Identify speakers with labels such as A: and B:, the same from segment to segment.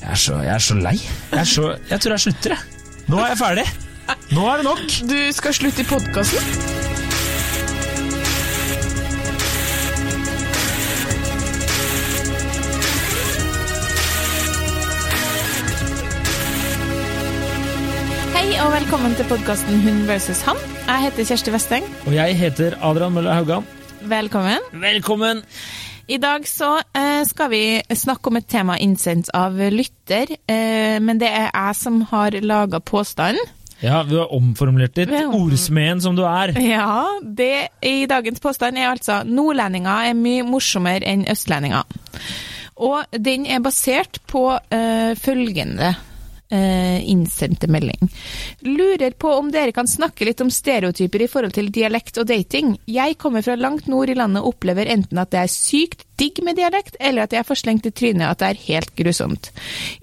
A: Jeg er så, jeg er så lei. Jeg, er så, jeg tror jeg slutter, jeg. Nå er jeg ferdig. Nå er det nok.
B: Du skal slutte i podkasten? Hei og velkommen til podkasten Hun versus han. Jeg heter Kjersti Westeng.
A: Og jeg heter Adrian Mølle Haugan.
B: Velkommen.
A: Velkommen!
B: I dag så eh, skal vi snakke om et tema innsendt av lytter, eh, men det er jeg som har laga påstanden.
A: Ja, du har omformulert ditt.
B: Vi har om-
A: Ordsmeden som du er.
B: Ja, det i dagens påstand er altså nordlendinger er mye morsommere enn østlendinger. Og den er basert på eh, følgende eh, innsendte melding. Lurer på om dere kan snakke litt om stereotyper i forhold til dialekt og dating. Jeg kommer fra langt nord i landet og opplever enten at det er sykt digg med dialekt, eller at jeg er for slengt i trynet at det er helt grusomt.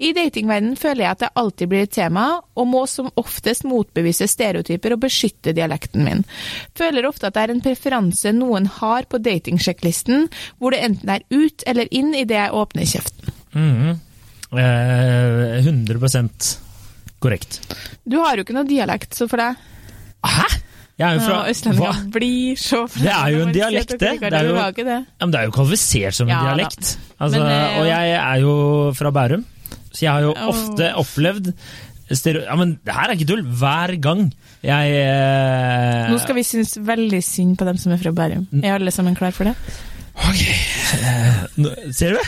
B: I datingverdenen føler jeg at det alltid blir et tema, og må som oftest motbevise stereotyper og beskytte dialekten min. Føler ofte at det er en preferanse noen har på datingsjekklisten, hvor det enten er ut eller inn idet jeg åpner kjeften.
A: Mhm. eh, 100 korrekt.
B: Du har jo ikke noe dialekt, så for deg.
A: Hæ?! Jeg er jo fra
B: Ja,
A: Hva?
B: Østlendinger blir så
A: Det er jo en dialekt, det.
B: Det
A: Det er jo-
B: var ikke det.
A: Ja, men det er jo kvalifisert som en
B: Ja, da.
A: dialekt. Altså,
B: Men, eh,
A: og jeg er jo fra Bærum, så jeg har jo
B: Åh.
A: ofte opplevd stereo... Ja, men det her er ikke tull. Hver gang jeg eh, Mm.
B: Nå skal vi synes veldig synd på dem som er fra Bærum. Er alle sammen klar for det?
A: Ok. Eh, nå- Ser du?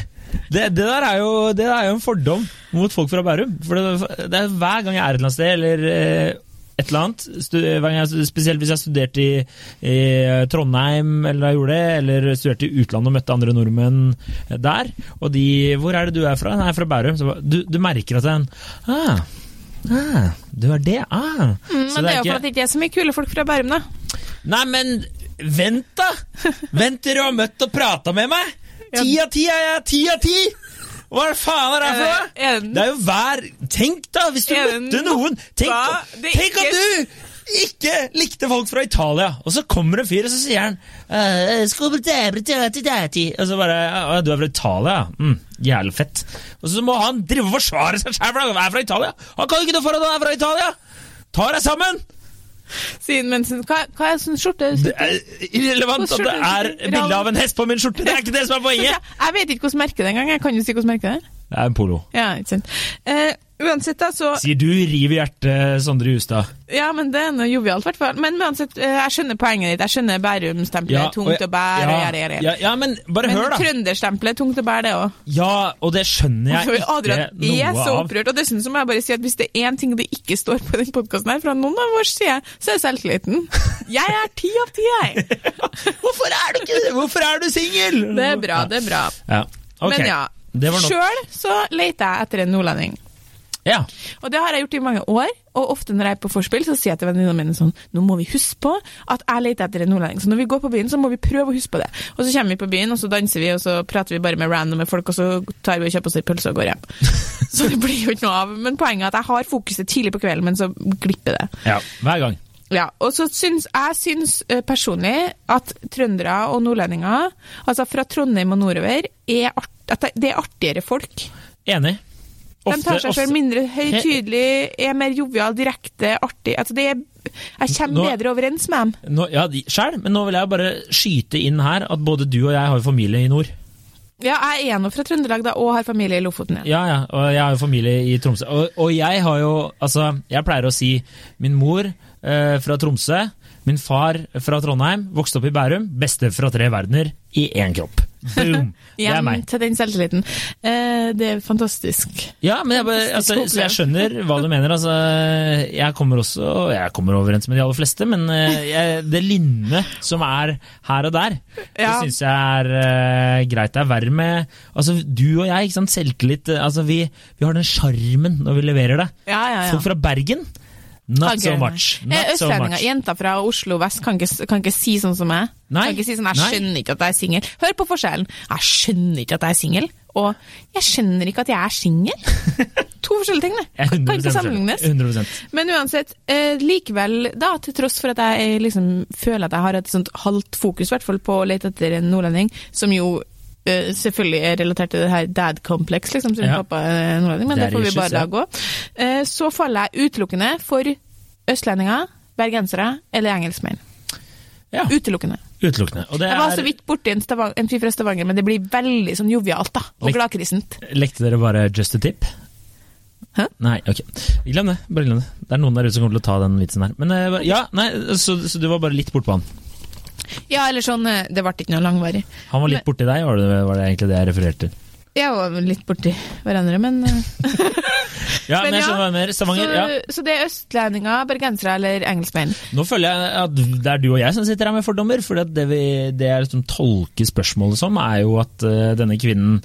A: Det, det, der er jo, det der er jo en fordom mot folk fra Bærum. For det, det er Hver gang jeg er et eller annet sted, eller eh, et eller annet, stu, hver gang jeg, spesielt hvis jeg studerte i, i eh, Trondheim, eller da jeg gjorde det, eller studerte i utlandet og møtte andre nordmenn eh, der, og de 'Hvor er det du er fra?' 'Nei, jeg er fra Bærum'. Så bare, du, du merker at det er en ah, ah, Du er det? Ah.
B: Mm,
A: Så
B: men det er jo
A: ikke-
B: for at det ikke er så mye kule folk fra Bærum, da.
A: Nei, men vent, da! Vent til du har møtt og prata med meg!
B: Ja.
A: Ti av ti er jeg! Ti av ti! Hva er det faen er det her for noe?
B: Er det-
A: Det er jo hver Tenk, da! Hvis du
B: Er det
A: møtte noen Tenk,
B: noe- det er
A: tenk at du ikke likte folk fra Italia, og så kommer en fyr og så sier han «Eh, skobel dæbre dæti dæti», Og så bare «Å, Du er fra Italia, ja. Mm, jævlig fett. Og så må han drive og forsvare seg sjæl, for han er fra Italia! Han kan jo ikke noe for at han er fra Italia! Ta deg sammen!
B: Siden mensen. Hva, hva er sånn skjorte?
A: Det er irrelevant at det er bilde av en hest på min skjorte! Det er ikke det som er poenget!
B: Jeg vet ikke hvordan merket det er engang. Jeg kan jo si hvordan merket det er.
A: Det er en polo.
B: Ja, ikke sant. Eh, uansett, da, så
A: Sier du riv i hjertet, Sondre Justad.
B: Ja, men det er noe jovialt, i hvert fall. Men uansett, eh, jeg skjønner poenget ditt. Jeg skjønner Bærum-stempelet. tungt å bære. og gjøre, gjøre, gjøre.
A: ja, ja, men bare
B: Men
A: hør, da.
B: trønderstempelet er tungt å bære, det òg.
A: Ja, og det skjønner jeg ikke
B: Adrian er
A: noe
B: så
A: av.
B: opprørt. Og dessuten så må jeg bare si at hvis det er én ting det ikke står på den podkasten her, fra noen av vår side, så er det selvtilliten. Jeg er ti av ti, jeg.
A: Hvorfor er du ikke Hvorfor er du singel?!
B: Det er bra, det er bra.
A: Ja. Ok,
B: Men ja.
A: Det var nok.
B: Sjøl så leter jeg etter en nordlending.
A: Ja.
B: Og det har jeg gjort i mange år, og ofte når jeg er på forspill, så sier jeg til venninnene mine sånn Nå må vi huske på at jeg leter etter en nordlending, så når vi går på byen, så må vi prøve å huske på det. Og så kommer vi på byen, og så danser vi, og så prater vi bare med randomme folk, og så tar vi og kjøper oss litt pølse og går hjem. Så det blir jo ikke noe av. Men poenget er at jeg har fokuset tidlig på kvelden, men så glipper det.
A: ja. Hver gang.
B: Ja, og så syns jeg syns eh, personlig at trøndere og nordlendinger, altså fra Trondheim og nordover, er art, at det- det er artigere folk.
A: Enig.
B: De tar seg selv mindre høytidelig, er mer jovial, direkte, artig. Altså det er, jeg kommer
A: Nå-
B: bedre overens med dem.
A: Nå, ja, de- selv, men nå vil jeg bare skyte inn her at både du og jeg har jo familie i nord.
B: Ja, jeg er nå fra Trøndelag da, og har familie i Lofoten. Ja.
A: Ja, ja, og jeg har jo familie i Tromsø. Og, og jeg har jo, altså, jeg pleier å si min mor eh, fra Tromsø, min far fra Trondheim, vokste opp i Bærum, beste fra tre verdener i én kropp. Boom! Det er
B: Igjen
A: meg.
B: til den selvtilliten. Eh, det er fantastisk.
A: Ja, men jeg, bare, altså, så jeg skjønner hva du mener. Altså, jeg kommer også jeg kommer overens med de aller fleste, men eh, jeg, det lynnet som er her og der, det
B: Ja.
A: syns jeg er eh, greit. Det er verre med altså, du og jeg, ikke sant? selvtillit. eh, Altså, vi, vi har den sjarmen når vi leverer det.
B: Ja, ja, ja.
A: Folk fra Bergen? Not
B: Kan
A: so
B: ikke-
A: much.
B: Eh,
A: Not so
B: Østlendinger,
A: much.
B: jenter fra Oslo vest kan ikke, kan ikke si sånn som meg.
A: Nei.
B: Kan ikke si sånn, jeg
A: Nei.
B: skjønner ikke at jeg er singel. Hør på forskjellen. Jeg skjønner ikke at jeg er singel, og jeg skjønner ikke at jeg er singel. To forskjellige ting, det.
A: Jeg er
B: Kan
A: 100%
B: ikke sammenlignes.
A: 100
B: Men uansett, eh, likevel da, til tross for at jeg eh, liksom føler at jeg har et sånt halvt fokus, i hvert fall på å lete etter en nordlending, som jo eh, selvfølgelig er relatert til det her dad complex, liksom, siden
A: Ja.
B: pappa er nordlending, men
A: Det
B: det,
A: er
B: får vi
A: issues,
B: bare la
A: ja.
B: gå. Eh, så faller jeg utelukkende for østlendinger, bergensere eller engelskmenn.
A: Ja.
B: Utelukkende.
A: Utelukkende. Og det
B: Jeg var så
A: er
B: vidt borti en, Stavang- en fyr fra Stavanger, men det blir veldig sånn jovialt da, og
A: Likt.
B: gladkrissent.
A: Lekte dere bare just a tip?
B: Hæ?
A: Nei, ok. Glem det. Bare glem det. Det er noen der ute som kommer til å ta den vitsen her. Men eh, ja, nei, så, så du var bare litt bortpå han.
B: Ja, eller sånn, eh, det ble ikke noe langvarig.
A: Han var litt borti deg, var det, var det egentlig det jeg refererte til?
B: Jeg var litt borti hverandre, men eh,
A: Ja,
B: Men
A: men jeg
B: ja,
A: skjønner hva du mener. Stavanger, ja.
B: så, så det er østlendinger, bergensere eller engelskmenn.
A: Nå føler jeg at det er du og jeg som sitter her med fordommer, for det, vi, det jeg liksom tolker spørsmålet som, er jo at eh, denne kvinnen,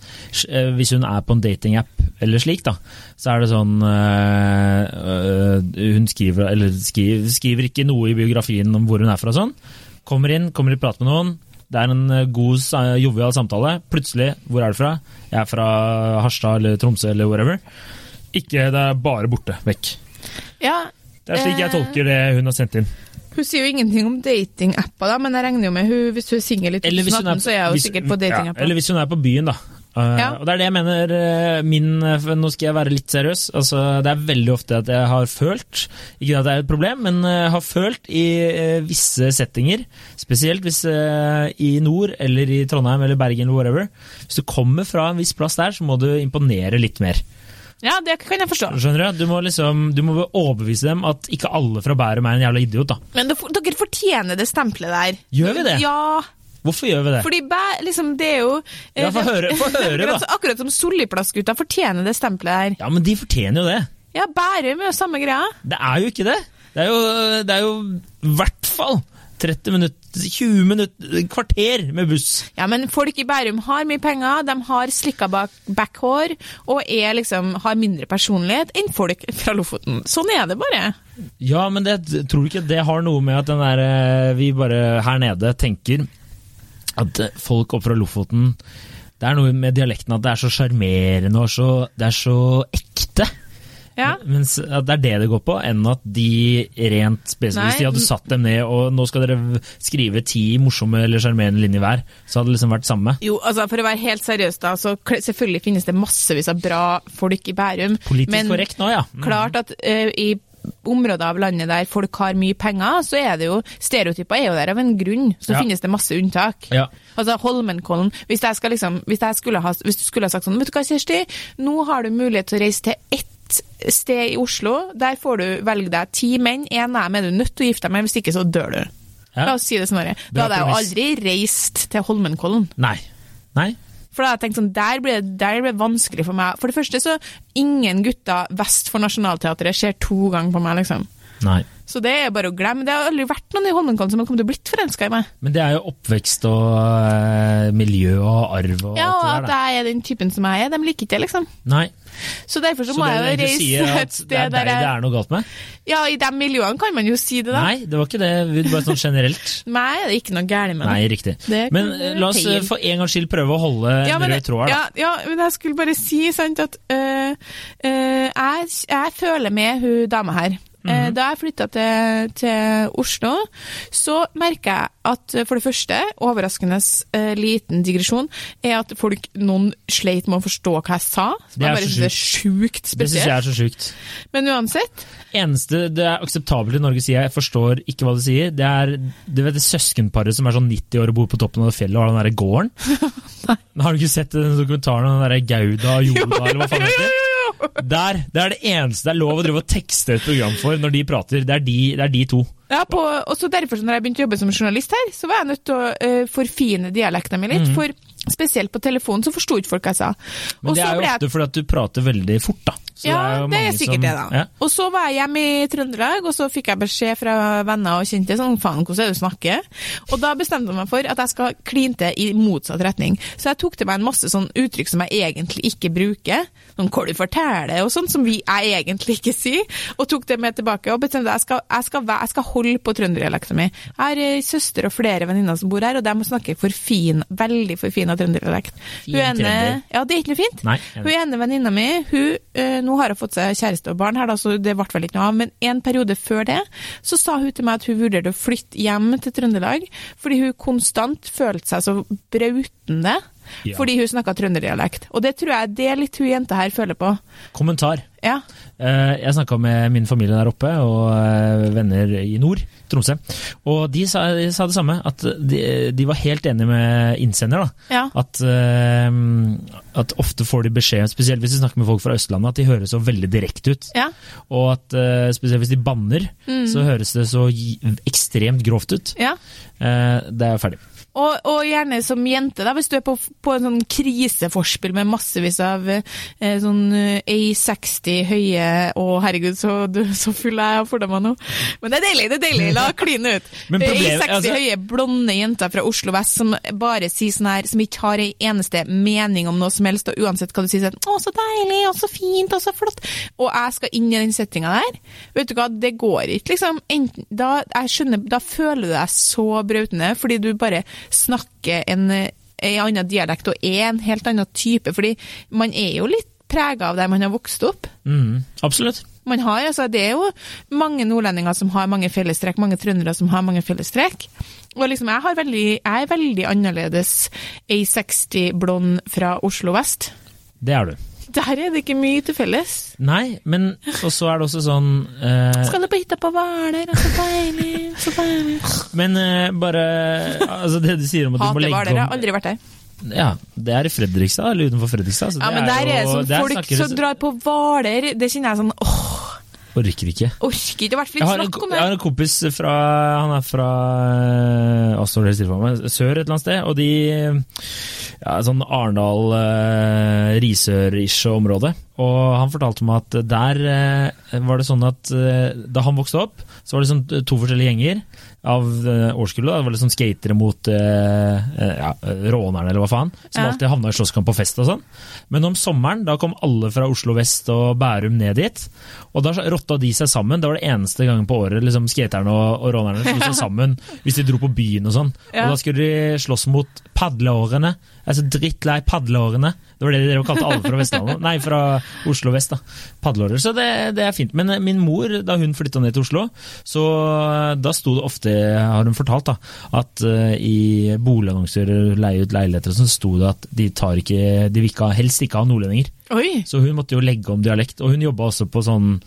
A: eh, hvis hun er på en datingapp eller slik, da, så er det sånn eh, eh, Hun skriver, eller skriver, skriver ikke noe i biografien om hvor hun er fra og sånn. Kommer inn, kommer i prat med noen. Det er en eh, god, sa- jovial samtale. Plutselig, hvor er du fra? Jeg er fra Harstad eller Tromsø eller whatever. Ikke, det er bare borte, vekk.
B: Ja,
A: Det er slik jeg
B: Eh.
A: tolker det hun har sendt inn.
B: Hun sier jo ingenting om datingapper, da, men jeg regner jo med hun, hvis hun er singel i
A: Eller hvis hun
B: 2018, så er hun jo
A: hvis-
B: sikkert på
A: Ja,
B: datingapper.
A: eller hvis hun er på byen, da. Eh,
B: Ja.
A: Og det er det jeg mener eh, min eh, for Nå skal jeg være litt seriøs. Altså, det er veldig ofte at jeg har følt Ikke at det er et problem, men eh, har følt i eh, visse settinger, spesielt hvis eh, i nord eller i Trondheim eller Bergen eller whatever Hvis du kommer fra en viss plass der, så må du imponere litt mer.
B: Ja, det kan jeg forstå.
A: Skjønner du? Du må liksom Du må overbevise dem at ikke alle fra Bærum er en jævla idiot, da.
B: Men da- dere fortjener det stempelet der.
A: Gjør vi det?
B: Ja,
A: Hvorfor gjør vi det?
B: fordi bæ- liksom, det er jo eh,
A: Ja, få høre- få høre, da.
B: akkurat, som- akkurat som Solliplass-gutta fortjener det stempelet der.
A: Ja, men de fortjener jo det.
B: Ja, Bærum er jo samme greia.
A: Det er jo ikke det. Det er jo, det er jo i hvert fall 30 minutter, 20 minutter, kvarter med buss.
B: Ja, men folk i Bærum har mye penger, de har slikka bak backhår og er liksom, har mindre personlighet enn folk fra Lofoten. Sånn er det bare.
A: Ja, men det, tror du ikke det har noe med at den der, eh, vi bare her nede tenker at eh, folk oppe fra Lofoten Det er noe med dialekten at det er så sjarmerende og så, det er så ekte.
B: Ja.
A: Mens at det er det det går på, enn at de rent spesifikt Hvis
B: Nei,
A: de hadde
B: n-
A: satt dem ned og nå skal dere v- skrive ti morsomme eller sjarmerende linjer hver, så hadde det liksom vært samme.
B: Jo, altså for å være helt seriøs da, så kl- selvfølgelig finnes det massevis av bra folk i Bærum.
A: Politisk
B: men
A: korrekt Mm. nå, ja.
B: klart at eh, i områder av landet der folk har mye penger, så er det jo, stereotyper er jo der av en grunn, så
A: Ja.
B: finnes det masse unntak.
A: Ja.
B: Altså Holmenkollen, hvis, jeg skal liksom, hvis, jeg skulle ha, hvis du skulle ha sagt sånn, vet du hva Kjersti, nå har du mulighet til å reise til ett sted i Oslo, der får du velge deg ti menn, en av dem er du nødt til å gifte deg med, hvis ikke så dør du.
A: Ja.
B: La oss si det sånn, Are. da
A: Bra
B: hadde jeg jo
A: premiss.
B: aldri reist til Holmenkollen.
A: Nei. Nei,
B: For da har jeg tenkt sånn, der ble, der ble det vanskelig for meg. For det første så, ingen gutter vest for Nationaltheatret ser to ganger på meg, liksom.
A: Nei.
B: Så det er bare å glemme. Det har aldri vært noen i Holmenkollen som har kommet til å blitt forelska i meg.
A: Men det er jo oppvekst og eh, miljø og arv og
B: Ja, og
A: alt
B: at
A: det der.
B: jeg er den typen som jeg er, de liker ikke det, liksom.
A: Da. Nei.
B: Så derfor så,
A: Så
B: må
A: det du
B: jeg jo
A: egentlig sier,
B: reise
A: er
B: et
A: at det er
B: sted
A: deg
B: der
A: det
B: jeg
A: er noe galt med?
B: Ja, i de miljøene kan man jo si det, da.
A: Nei, det var ikke det. Vi- Bare sånn generelt.
B: Meg er det ikke noe gærent med.
A: Nei, riktig.
B: Det kan
A: Men
B: være
A: la oss eh,
B: feil.
A: for en gangs skyld prøve å holde
B: Ja,
A: en
B: men,
A: rød tråd her, da.
B: ja, ja, men jeg skulle bare si sant, at øh, øh, jeg, jeg føler med hun dama her. Eh,
A: Mhm.
B: Da jeg flytta til, til Oslo, så merka jeg at eh, for det første, overraskende eh, liten digresjon, er at folk, noen sleit med å forstå hva jeg sa. Som
A: Det
B: jeg
A: er så
B: bare synes er sjukt
A: Det syns jeg
B: spesielt.
A: er så sjukt.
B: Men uansett,
A: Eneste det er akseptabelt i Norge, sier jeg, jeg forstår ikke hva du sier, det er du vet, det søskenparet som er sånn 90 år og bor på toppen av det fjellet og har den derre gården. Har du ikke sett den dokumentaren om den derre Gauda og Joda, eller hva faen det heter? Der, Det er det eneste det er lov å drive og tekste et program for når de prater. Det er de, det er de to.
B: Ja, på, og så derfor, så når jeg begynte å jobbe som journalist her, så var jeg nødt til å eh, forfine dialekten min litt, for spesielt på telefonen så forsto ikke folk hva jeg sa.
A: Mhm. Men
B: Og
A: det
B: så
A: er jo
B: ble jeg-
A: ofte fordi at du prater veldig fort, da. Så
B: ja,
A: jo
B: det er,
A: mange
B: sikkert
A: som-
B: det, da.
A: Ja.
B: Og så var jeg hjemme i Trøndelag, og så fikk jeg beskjed fra venner og kjente sånn Faen, hvordan er det du snakker? Og da bestemte jeg meg for at jeg skal kline til i motsatt retning. Så jeg tok til meg en masse sånn uttrykk som jeg egentlig ikke bruker. Sånn hva du forteller og sånn, som vi, jeg egentlig ikke sier. Og tok det med tilbake og bestemte at jeg skal, jeg skal, væ- jeg skal holde på trønderdialekten min. Jeg har eh, søster og flere venninner som bor her, og de snakker for fin, veldig forfina trønderdialekt.
A: Fin
B: Hun ene-
A: trønder.
B: Ja, det er ikke noe fint.
A: Nei,
B: Hun ene venninna mi, hun, eh, nå har hun fått seg kjæreste og barn her, da, så det ble vel ikke noe av, men en periode før det, så sa hun til meg at hun vurderte å flytte hjem til Trøndelag, fordi hun konstant følte seg så brautende
A: Ja.
B: fordi hun snakka trønderdialekt. Og det tror jeg det er litt hun jenta her føler på.
A: Kommentar.
B: Ja.
A: Eh, Jeg snakka med min familie der oppe og eh, venner i nord, Tromsø. Og de sa, de sa det samme, at de, de var helt enige med innsender. da.
B: ja.
A: At, eh, at ofte får de beskjed, spesielt hvis de snakker med folk fra Østlandet, at de høres så veldig direkte ut.
B: Ja. Mm.
A: Og at eh, spesielt hvis de banner, så høres det så gi- ekstremt grovt ut.
B: ja.
A: Eh, Det er jeg ferdig.
B: Og, og gjerne som jente, da, hvis du er på, på en sånn kriseforspill med massevis av eh, sånn eh, A60 høye Å, herregud, så, du, så full er jeg av fordommer nå. Men det er deilig, det er deilig. La kline ut.
A: Men problemet-
B: A60
A: altså-
B: høye, blonde jenter fra Oslo vest som bare sier sånn her, som ikke har ei eneste mening om noe som helst, og uansett hva du sier sånn Å, så deilig, og så fint, og så flott. Og jeg skal inn i den settinga der. Vet du hva, det går ikke, liksom. Enten, da, jeg skjønner, da føler du deg så brautende, fordi du bare snakker en, en annen dialekt og er en helt annen type. Fordi man er jo litt prega av der man har vokst opp.
A: Mm, absolutt.
B: Man har, altså, det er jo mange nordlendinger som har mange fellestrekk, mange trøndere som har mange fellestrekk. Og liksom, jeg, har veldig, jeg er veldig annerledes A60-blond fra Oslo vest.
A: Det er du.
B: Der er det ikke mye til felles.
A: Nei, men og så er det også sånn eh,
B: Skal du på hytta på Hvaler, og så deilig, så deilig.
A: Men eh, bare altså Det du sier om at du må
B: Hater
A: legge
B: Hvaler, jeg har
A: om
B: aldri vært der.
A: Ja, Det er i Fredrikstad, eller utenfor Fredrikstad. Så
B: Ja, men der er det
A: jo-
B: sånn
A: der
B: folk
A: snakker
B: som
A: det-
B: drar på Hvaler, det kjenner jeg sånn åh,
A: Orker ikke.
B: orker ikke, i hvert fall
A: Jeg har,
B: ikke
A: en,
B: snakke om
A: jeg
B: det.
A: har en kompis fra Han er fra eh, hva står det stille for meg, sør et eller annet sted. Og de ja, Sånn Arendal, eh, Risør-ish område. Og han fortalte meg at der eh, var det sånn at eh, da han vokste opp, så var det sånn to forskjellige gjenger av eh, årskullet. Da. Det var liksom skatere mot eh, eh, ja, rånerne, eller hva faen. Som
B: Ja.
A: alltid havna i slåsskamp på fest og sånn. Men om sommeren, da kom alle fra Oslo vest og Bærum ned dit. Og da rotta de seg sammen. Det var det eneste gangen på året liksom skaterne og, og rånerne slo seg sammen hvis de dro på byen og sånn.
B: Ja.
A: Og da skulle de slåss mot padleårene. Jeg er så drittlei padleårene. Det var det dere kalte alle fra Vestlandet. Nei, fra Oslo vest, da. Padleårer. Så det, det er fint. Men eh, min mor, da hun flytta ned til Oslo, så eh, da sto det ofte, har hun fortalt, da, at eh, i boligannonser, leie ut leiligheter og sånn, sto det at de, tar ikke, de vil ikke, ha- helst ikke ha nordlendinger.
B: Oi,
A: Så hun måtte jo legge om dialekt, og hun jobba også på sånn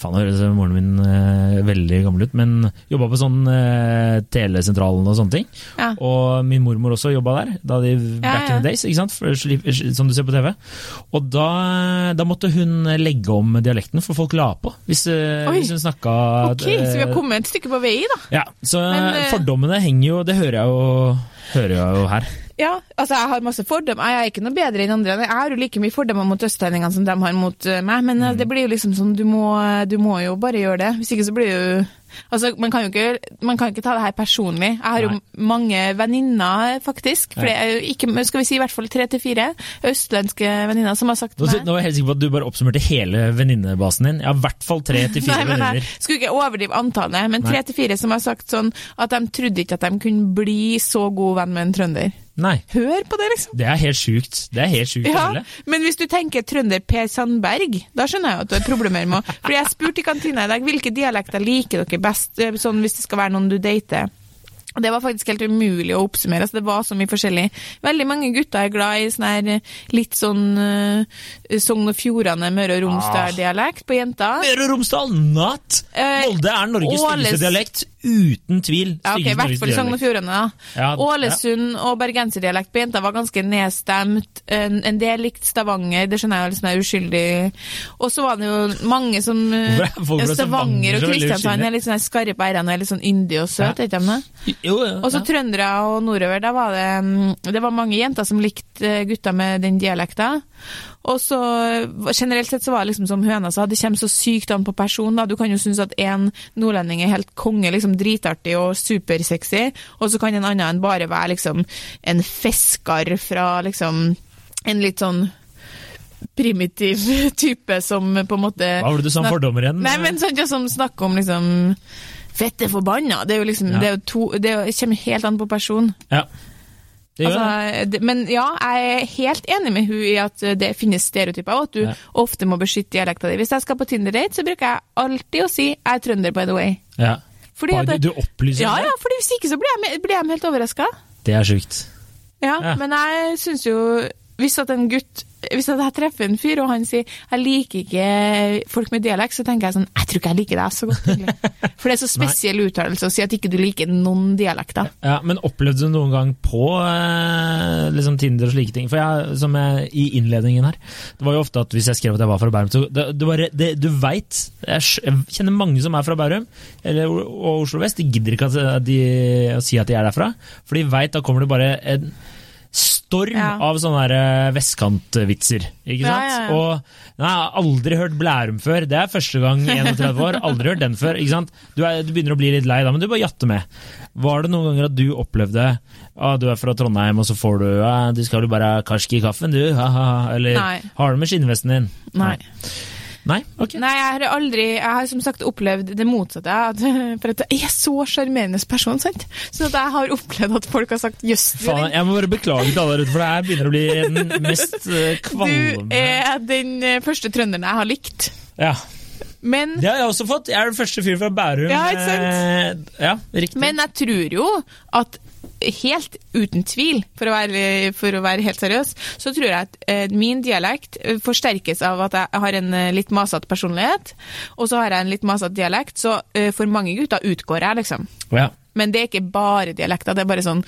A: Faen, nå høres moren min eh, veldig gammel ut, men jobba på sånn eh, telesentralen og sånne ting.
B: ja.
A: Og min mormor også jobba der, da de back
B: ja.
A: in the days, ikke sant? For, sli- som du ser på TV. Og da, da måtte hun legge om dialekten, for folk la på hvis, eh,
B: Oi.
A: hvis hun snakka
B: Ok, så vi har kommet et stykke på vei, da.
A: Ja, så
B: Men, eh,
A: fordommene henger jo, det hører jeg jo, hører jeg jo her.
B: Ja, altså jeg har masse fordommer. Jeg er ikke noe bedre enn andre. Jeg har jo like mye fordommer mot østlendingene som de har mot eh, meg, men eh,
A: Mm.
B: det blir jo liksom sånn, du må, du må jo bare gjøre det. Hvis ikke så blir det jo Altså, man kan jo ikke, man kan ikke ta det her personlig. Jeg har jo
A: Nei.
B: mange venninner, faktisk. For det er jo ikke, men skal vi si i hvert fall tre til fire østlandske venninner som har sagt
A: Nå,
B: til meg
A: nå var jeg helt sikker på at du bare oppsummerte hele venninnebasen din. Jeg har i hvert fall tre til fire
B: Nei, men jeg
A: venninner.
B: skulle ikke overdrive antallet, men
A: Nei.
B: tre til fire som har sagt sånn at de trodde ikke at de kunne bli så god venn med en trønder.
A: Nei.
B: Hør på det, liksom.
A: Det er helt sjukt. Det er helt sjukt å
B: Ja,
A: melde.
B: men hvis du tenker trønder Per Sandberg, da skjønner jeg jo at du har problemer med å- Fordi jeg spurte i kantina i dag hvilke dialekter liker dere best, eh, sånn hvis det skal være noen du dater. Og Det var faktisk helt umulig å oppsummere, så det var så mye forskjellig. Veldig mange gutter er glad i sånn her eh, litt sånn eh, Sogn og Fjordane, Møre og Romsdal-dialekt på jenter.
A: Møre og Romsdal, not!
B: Eh,
A: Molde er Norges styggeste
B: Åles-
A: dialekt, uten tvil.
B: Ja, ok, I
A: Styggeste
B: hvert
A: Norges
B: fall Sogn og
A: dialekt.
B: Fjordane. da.
A: Ja, d-
B: Ålesund og bergenserdialekt på jenta var ganske nedstemt. En, en del likte Stavanger, det skjønner jeg jo liksom er uskyldig. Og så var det jo mange som eh,
A: Hvorfor er folk fra Stavanger
B: Stavanger og
A: så veldig
B: Kristiansand
A: uskyldige?
B: er litt sånn her skarre på r-ene og er litt sånn yndige og søte, er ikke de det?
A: Jo, ja,
B: Og så
A: ja.
B: trøndere og nordover, da var det mm, Det var mange jenter som likte eh, gutter med den dialekta. Og så eh, generelt sett så var det liksom som høna sa, det kommer så sykt an på personen, da. Du kan jo synes at en nordlending er helt konge, liksom dritartig og supersexy, og så kan en annen enn bare være liksom en fisker fra liksom en litt sånn primitiv type som på en måte
A: Hva var det du sa om
B: Snak-
A: fordommer igjen?
B: Nei, men sånn ja, som snakker om liksom Fette forbanna! Det er jo liksom
A: Ja.
B: Det, er jo to, det er jo, det kommer helt an på person.
A: Ja. Det gjør det.
B: Altså, det, men ja, jeg er helt enig med hun i at det finnes stereotyper, og at du
A: Ja.
B: ofte må beskytte dialekta di. Hvis jeg skal på Tinder-date, så bruker jeg alltid å si 'jeg er trønder, by the way'.
A: Ja.
B: Fordi
A: Bare
B: at-
A: du, du opplyser
B: ja,
A: det.
B: ja, fordi hvis ikke så blir jeg, blir jeg helt overraska.
A: Det er sjukt.
B: Ja,
A: Ja.
B: men jeg syns jo Hvis at en gutt Hvis at jeg treffer en fyr og han sier 'jeg liker ikke folk med dialekt', så tenker jeg sånn 'jeg tror ikke jeg liker deg så godt', egentlig. For det er så spesiell uttalelse å si at ikke du liker noen dialekter.
A: Ja, men opplevde du noen gang på eh, liksom Tinder og slike ting? For jeg, som jeg, i innledningen her, det var jo ofte at hvis jeg skrev at jeg var fra Bærum, så det, det bare, det, du veit jeg, skj- jeg kjenner mange som er fra Bærum eller, O- og Oslo vest. De gidder ikke at de, å si at de er derfra, for de veit da kommer det bare en storm
B: Ja.
A: av sånne her, eh, vestkantvitser. Ikke
B: Ja,
A: sant?
B: ja, ja.
A: Og nei, jeg har aldri hørt Blærum før. Det er første gang i 31 år. Aldri hørt den før. ikke sant? Du, er, du begynner å bli litt lei da, men du bare jatter med. Var det noen ganger at du opplevde ah, du er fra Trondheim, og så får du ah, du skal jo bare ha karsk i kaffen, du? Ha, ha, ha. Eller
B: Nei.
A: har du med skinnvesten din?
B: Nei.
A: Nei? Ok.
B: Nei, jeg har aldri Jeg har som sagt opplevd det motsatte. At, for at jeg er så sjarmerende person, sant. Så at jeg har opplevd at folk har sagt 'jøss, du,
A: Faen,
B: er den-
A: jeg må bare beklage til alle der ute, for det her begynner å bli den mest eh,
B: du
A: kvalme
B: er den eh, første trønderen jeg har likt'.
A: ja.
B: Men
A: Det har jeg også fått. Jeg er den første fyren fra Bærum.
B: Ja, ikke sant?
A: eh, Ja, riktig.
B: Men jeg tror jo at helt uten tvil, for å være, for å være helt seriøs, så tror jeg at eh, min dialekt eh, forsterkes av at jeg har en eh, litt masete personlighet, og så har jeg en litt masete dialekt, så eh, for mange gutter utgår jeg, liksom.
A: ja.
B: Men det er ikke bare dialekter, det er bare sånn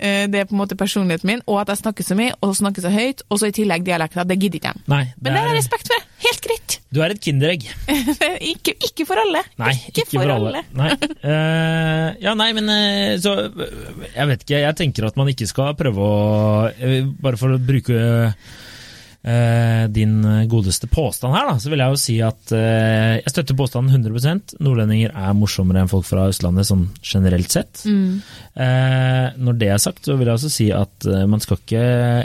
B: eh, Det er på en måte personligheten min, og at jeg snakker så mye, og snakker så høyt, og så i tillegg dialekter. Det gidder ikke jeg.
A: Nei,
B: Men det har
A: er-
B: jeg respekt for. Helt greit.
A: du er et kinderegg.
B: ikke, ikke for alle.
A: Nei, ikke, for alle. Nei. Eh, ja, nei, men eh, så eh, Jeg vet ikke, jeg tenker at man ikke skal prøve å eh, Bare for å bruke eh, din godeste påstand her, da, så vil jeg jo si at eh, jeg støtter påstanden 100 Nordlendinger er morsommere enn folk fra Østlandet, sånn generelt sett. Eh, når det er sagt, så vil jeg også si at eh, man skal ikke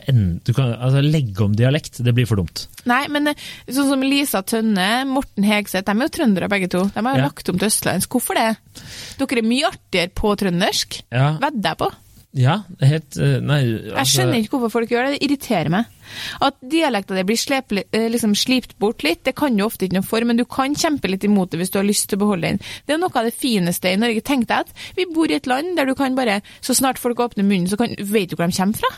A: en- du kan, altså, legge om dialekt. Det blir for dumt.
B: Nei, men eh, sånn som Lisa Tønne, Morten Hegseth, de er jo trøndere begge to. De har jo
A: Ja.
B: lagt om til østlandsk. Hvorfor det? Dere er mye artigere på trøndersk,
A: Ja,
B: vedder jeg på.
A: ja helt eh, Nei, altså
B: Jeg skjønner ikke hvorfor folk gjør det, det irriterer meg. At dialekta di blir slep, eh, liksom slipt bort litt, det kan jo ofte ikke noe for, men du kan kjempe litt imot det hvis du har lyst til å beholde den. Det er noe av det fineste i Norge. Tenk deg at vi bor i et land der du kan bare, så snart folk åpner munnen, så kan, vet du hvor de kommer fra.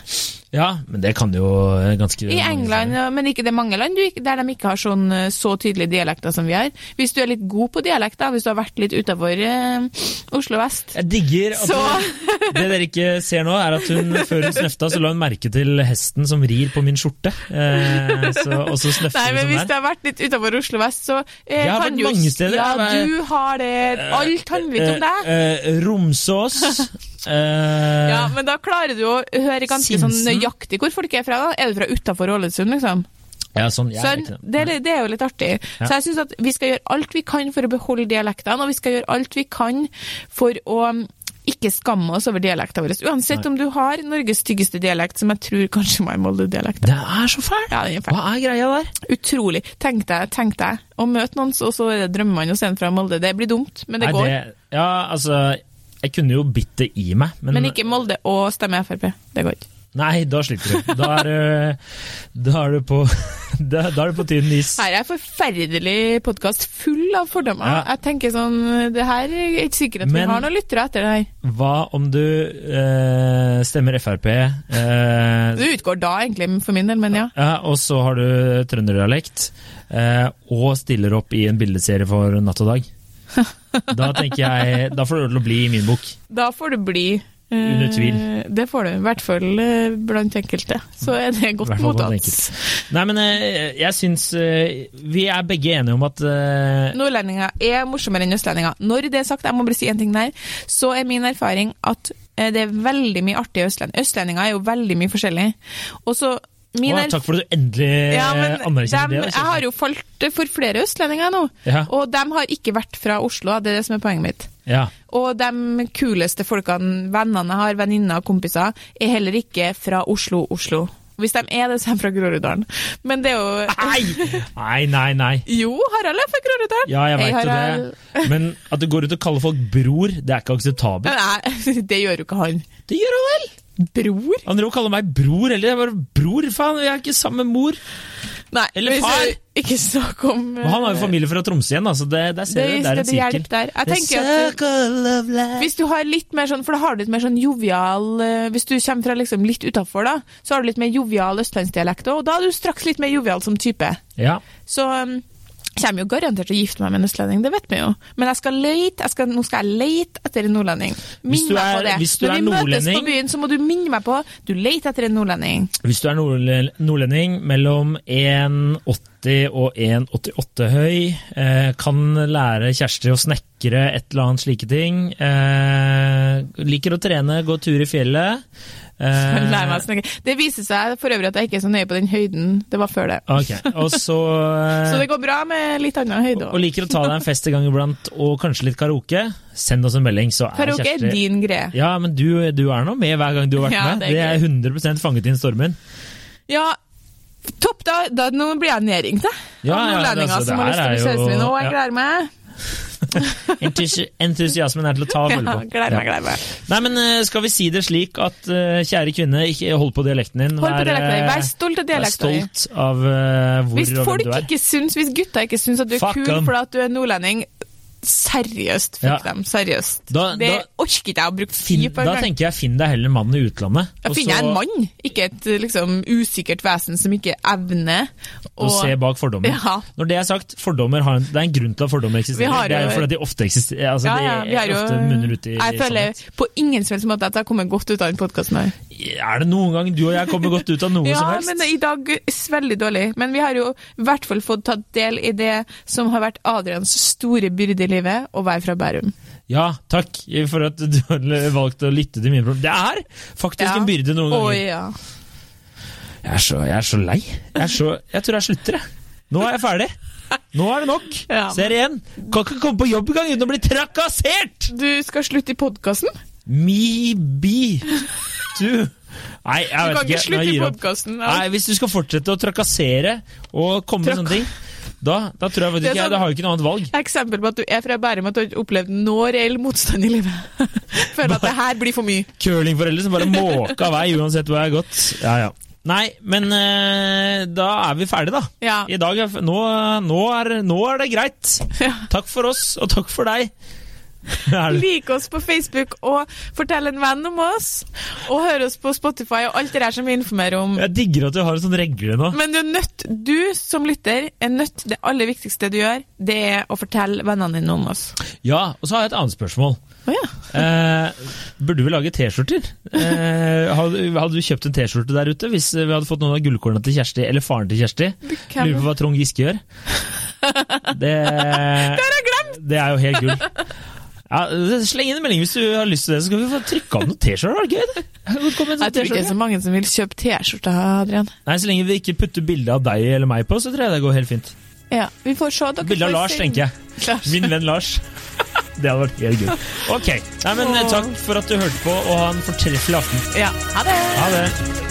A: Ja, men det kan jo eh, ganske
B: I
A: mange
B: England,
A: steder.
B: og- men ikke det er mange land du ikke- der de ikke har sånn, eh, så tydelige dialekter som vi har. Hvis du er litt god på dialekt, da, hvis du har vært litt utafor eh, Oslo vest,
A: Jeg digger at
B: Så-
A: det dere ikke ser nå, er at hun før hun snøfta, så la hun merke til hesten som rir på min skjorte. Eh, så, og så snøfter
B: Nei,
A: hun
B: men
A: som
B: hvis
A: der.
B: du har vært litt utafor Oslo vest, så
A: liksom,
B: eh,
A: Jeg har
B: kan
A: vært
B: du jo-
A: mange steder, jeg
B: Ja,
A: har-
B: du har det. Alt handler ikke om deg.
A: Eh, eh, Romsås eh,
B: Ja, men da klarer du å høre ganske sånn
A: Sinsen.
B: nøyaktig hvor folk er fra. da. Er du fra utafor Ålesund, liksom?
A: ja, sånn, jeg
B: Så
A: er ikke
B: det, er- det er jo litt artig. Så jeg synes at vi skal gjøre alt vi kan for å beholde dialektene, og vi skal gjøre alt vi kan for å um, ikke skamme oss over dialekten vår. Uansett om du har Norges styggeste dialekt, som jeg tror kanskje var en Molde-dialekt.
A: Det er så fælt!
B: Ja, den er fæl.
A: Hva er greia der?
B: Utrolig. Tenk deg, tenk deg, å møte noen, så, så er det drømmer man å se en fra Molde. Det blir dumt, men det
A: Nei,
B: går.
A: ja, altså Jeg kunne jo bitt det i meg, men,
B: Men ikke Molde og stemme Frp. Det går ikke.
A: Nei, da slipper du. Da er, du- da er du på Da, da er du på tynn is.
B: Her er en forferdelig podkast full av fordommer.
A: Ja.
B: Jeg tenker sånn, det her er ikke sikkert at
A: Men-
B: vi har noen lyttere etter det her.
A: Hva om du eh, stemmer Frp, eh,
B: Det utgår da egentlig, for min del, men ja.
A: ja, og så har du trønderdialekt, eh, og stiller opp i en bildeserie for Natt og dag? Da tenker jeg, da får det lov til å bli i min bok.
B: Da får du bli. eh,
A: Under tvil.
B: Det får du. I hvert fall eh, blant enkelte. Så er det
A: I
B: godt
A: hvert fall blant
B: mottatt.
A: enkelte. Nei, men eh, jeg syns eh, Vi er begge enige om at eh,
B: Nordlendinger er morsommere enn østlendinger. Når det er sagt, jeg må bare si en ting der, så er min erfaring at eh, det er veldig mye artig i Østlendinger. Østlendinger er jo veldig mye forskjellig. Og så min
A: å,
B: erf-
A: Takk for at du endelig
B: Ja, men
A: eh, anerkjenner
B: dem-
A: det.
B: Jeg har jo falt for flere østlendinger nå,
A: Ja.
B: og de har ikke vært fra Oslo, det er det som er poenget mitt.
A: ja.
B: Og de kuleste folkene, vennene jeg har, venninner og kompiser, er heller ikke fra Oslo, Oslo. Hvis de er det, så er de fra Groruddalen. Men det er jo
A: Nei! Nei, nei, nei.
B: Jo, Harald er fra Groruddalen!
A: Ja, jeg
B: Hei,
A: veit jo
B: Harald.
A: det. Men at du går ut og kaller folk bror, det er ikke akseptabelt.
B: Nei, det gjør jo ikke han.
A: Det gjør han vel!
B: Bror?
A: Han driver og kaller meg bror, eller jeg bare bror, faen, jeg er ikke sammen med mor.
B: Nei,
A: Eller
B: vi skal Ikke snakk om
A: Men han har jo
B: eh,
A: familie fra Tromsø igjen, da, så det, der
B: det,
A: ser du, det er
B: det,
A: en
B: det
A: sirkel.
B: hjelper der. Jeg tenker at eh,
A: circle of life.
B: hvis du har litt mer sånn, for da har du et mer sånn jovial eh, Hvis du kommer fra liksom litt utafor, da, så har du litt mer jovial østlandsdialekt òg, og da er du straks litt mer jovial som type.
A: Ja.
B: Så um, kommer jo garantert til å gifte meg med en østlending, det vet vi jo. Men jeg skal lete, jeg skal, nå skal jeg lete etter en nordlending.
A: Hvis
B: Minn
A: du
B: meg på
A: er-
B: det.
A: hvis du
B: Når
A: er
B: vi møtes på
A: nordlending-
B: byen, så må du minne meg på du leter etter en nordlending.
A: Hvis du er nordle- nordlending mellom 1,80 og 1,88 høy, eh, kan lære Kjersti å snekre et eller annet slike ting, eh, liker å trene, gå tur i fjellet eh,
B: Lær meg å snakke. Det viser seg for øvrig at jeg ikke er så nøye på den høyden det var før det.
A: Ok, og så, eh,
B: Så det går bra med litt annen
A: og
B: høyde òg.
A: liker å ta deg en fest en gang iblant, og kanskje litt karaoke, send oss en melding, så er
B: Karaoke er
A: Kjersti
B: din greie.
A: Ja, men du, du er nå med hver gang du har vært
B: Ja,
A: med.
B: det er
A: Det er 100 fanget inn stormen.
B: Ja, topp, da, da nå blir jeg nedringt, jeg.
A: Ja,
B: Av
A: ja,
B: nordlendinger
A: altså, det
B: som har lyst til å
A: her er
B: bli
A: jo-
B: kjæresten min, og jeg
A: ja.
B: gleder meg.
A: Entusi entusiasmen er til å ta og
B: Ja,
A: føle på.
B: gleder meg,
A: Ja.
B: gleder meg.
A: Nei, men eh, skal vi si det slik at eh, kjære kvinne, ikke hold på dialekten din.
B: Hold på dialekten din.
A: eh,
B: Vær stolt av
A: vær
B: dialekten din.
A: stolt av eh, hvor
B: Hvis
A: og
B: folk
A: hvem du er.
B: ikke syns, hvis gutta ikke syns at du er
A: Fuck
B: kul
A: dem.
B: fordi at du er nordlending, seriøst, fuck
A: Ja.
B: dem, seriøst.
A: Da-
B: det
A: da-
B: orker ikke jeg å bruke
A: Finn,
B: tid på
A: da
B: engang.
A: tenker jeg finn deg heller en mann i utlandet.
B: Da
A: og
B: finner jeg
A: så-
B: en mann, ikke et liksom, usikkert vesen som ikke evner
A: Og se Altså, bak fordommer.
B: Ja.
A: Når det er sagt, fordommer har en, det er en grunn til at fordommer
B: Vi
A: eksisterer.
B: har
A: det er jo
B: jo-
A: fordi de ofte eksisterer. Altså,
B: ja, ja,
A: de
B: vi har jo,
A: ofte munner ut i
B: jeg føler
A: sannhet.
B: på ingen som helst måte at jeg kommer godt ut av den podkasten her.
A: Er det noen gang du og jeg kommer godt ut av noe
B: Ja,
A: som helst?
B: men i dag er det veldig dårlig. Men vi har jo i hvert fall fått tatt del i det som har vært Adrians store byrde i livet, å være fra Bærum.
A: Ja, takk for at du har valgt å lytte til mine problemer. Det er faktisk
B: Ja.
A: en byrde noen
B: Å
A: ganger.
B: ja.
A: Jeg er så, jeg er så lei. Jeg, er så, jeg tror jeg slutter, jeg. Nå er jeg ferdig. Nå er det nok.
B: Ja, men-
A: Ser igjen. Kan ikke komme på jobb engang uten å bli trakassert!
B: Du skal slutte i podkasten?
A: Me be to Nei, jeg
B: Du
A: vet
B: kan ikke
A: Nå
B: slutte i
A: gir jeg opp.
B: podkasten.
A: Nei, hvis du skal fortsette å trakassere og komme med
B: Trak-
A: sånne ting, da, da tror jeg faktisk
B: Det er
A: ikke jeg,
B: sånn-
A: da har jeg ikke noe annet valg.
B: Eksempel på at du er fra Bærum at du har opplevd noe reell motstand i livet. Føler at det her blir for mye.
A: Curlingforeldre som bare måker vei uansett hvor jeg har gått. Ja, ja. Nei, men eh, da er vi ferdige, da.
B: Ja.
A: I dag er, f- nå, nå, er, nå er det greit.
B: Ja.
A: Takk for oss, og takk for deg. Er det,
B: Like oss på Facebook og fortell en venn om oss. Og hør oss på Spotify og alt det der som vi informerer om.
A: jeg digger at du har en sånn regle nå.
B: Men du er nødt, du som lytter, er nødt Det aller viktigste du gjør, det er å fortelle vennene dine om oss.
A: Ja, og så har jeg et annet spørsmål.
B: Å ja.
A: Eh, burde vi lage T-skjorter? Eh, hadde, hadde du kjøpt en T-skjorte der ute hvis vi hadde fått noen av gullkornene til Kjersti, eller faren til Kjersti?
B: Hvem-
A: Lurer på hva Trond Giske gjør. Det, det er jo helt gull. Ja, sleng inn en melding hvis du har lyst til det, så skal vi få trykka av noen T-skjorter. var det gøy, det? Det hadde kommet en sånn
B: Jeg tror ikke det er
A: T-skjorte.
B: så mange som vil kjøpe T-skjorter, Adrian.
A: Nei, Så lenge vi ikke putter bilde av deg eller meg på, så tror jeg det går helt fint.
B: Ja, vi får se. Dere
A: Bilde av Lars, tenker jeg.
B: jeg.
A: Min venn Lars. Det hadde vært helt gull. Ok, Nei, men eh, Takk for at du hørte på, og ha en fortreffelig aften.
B: Ja. Ha det.
A: Ha det.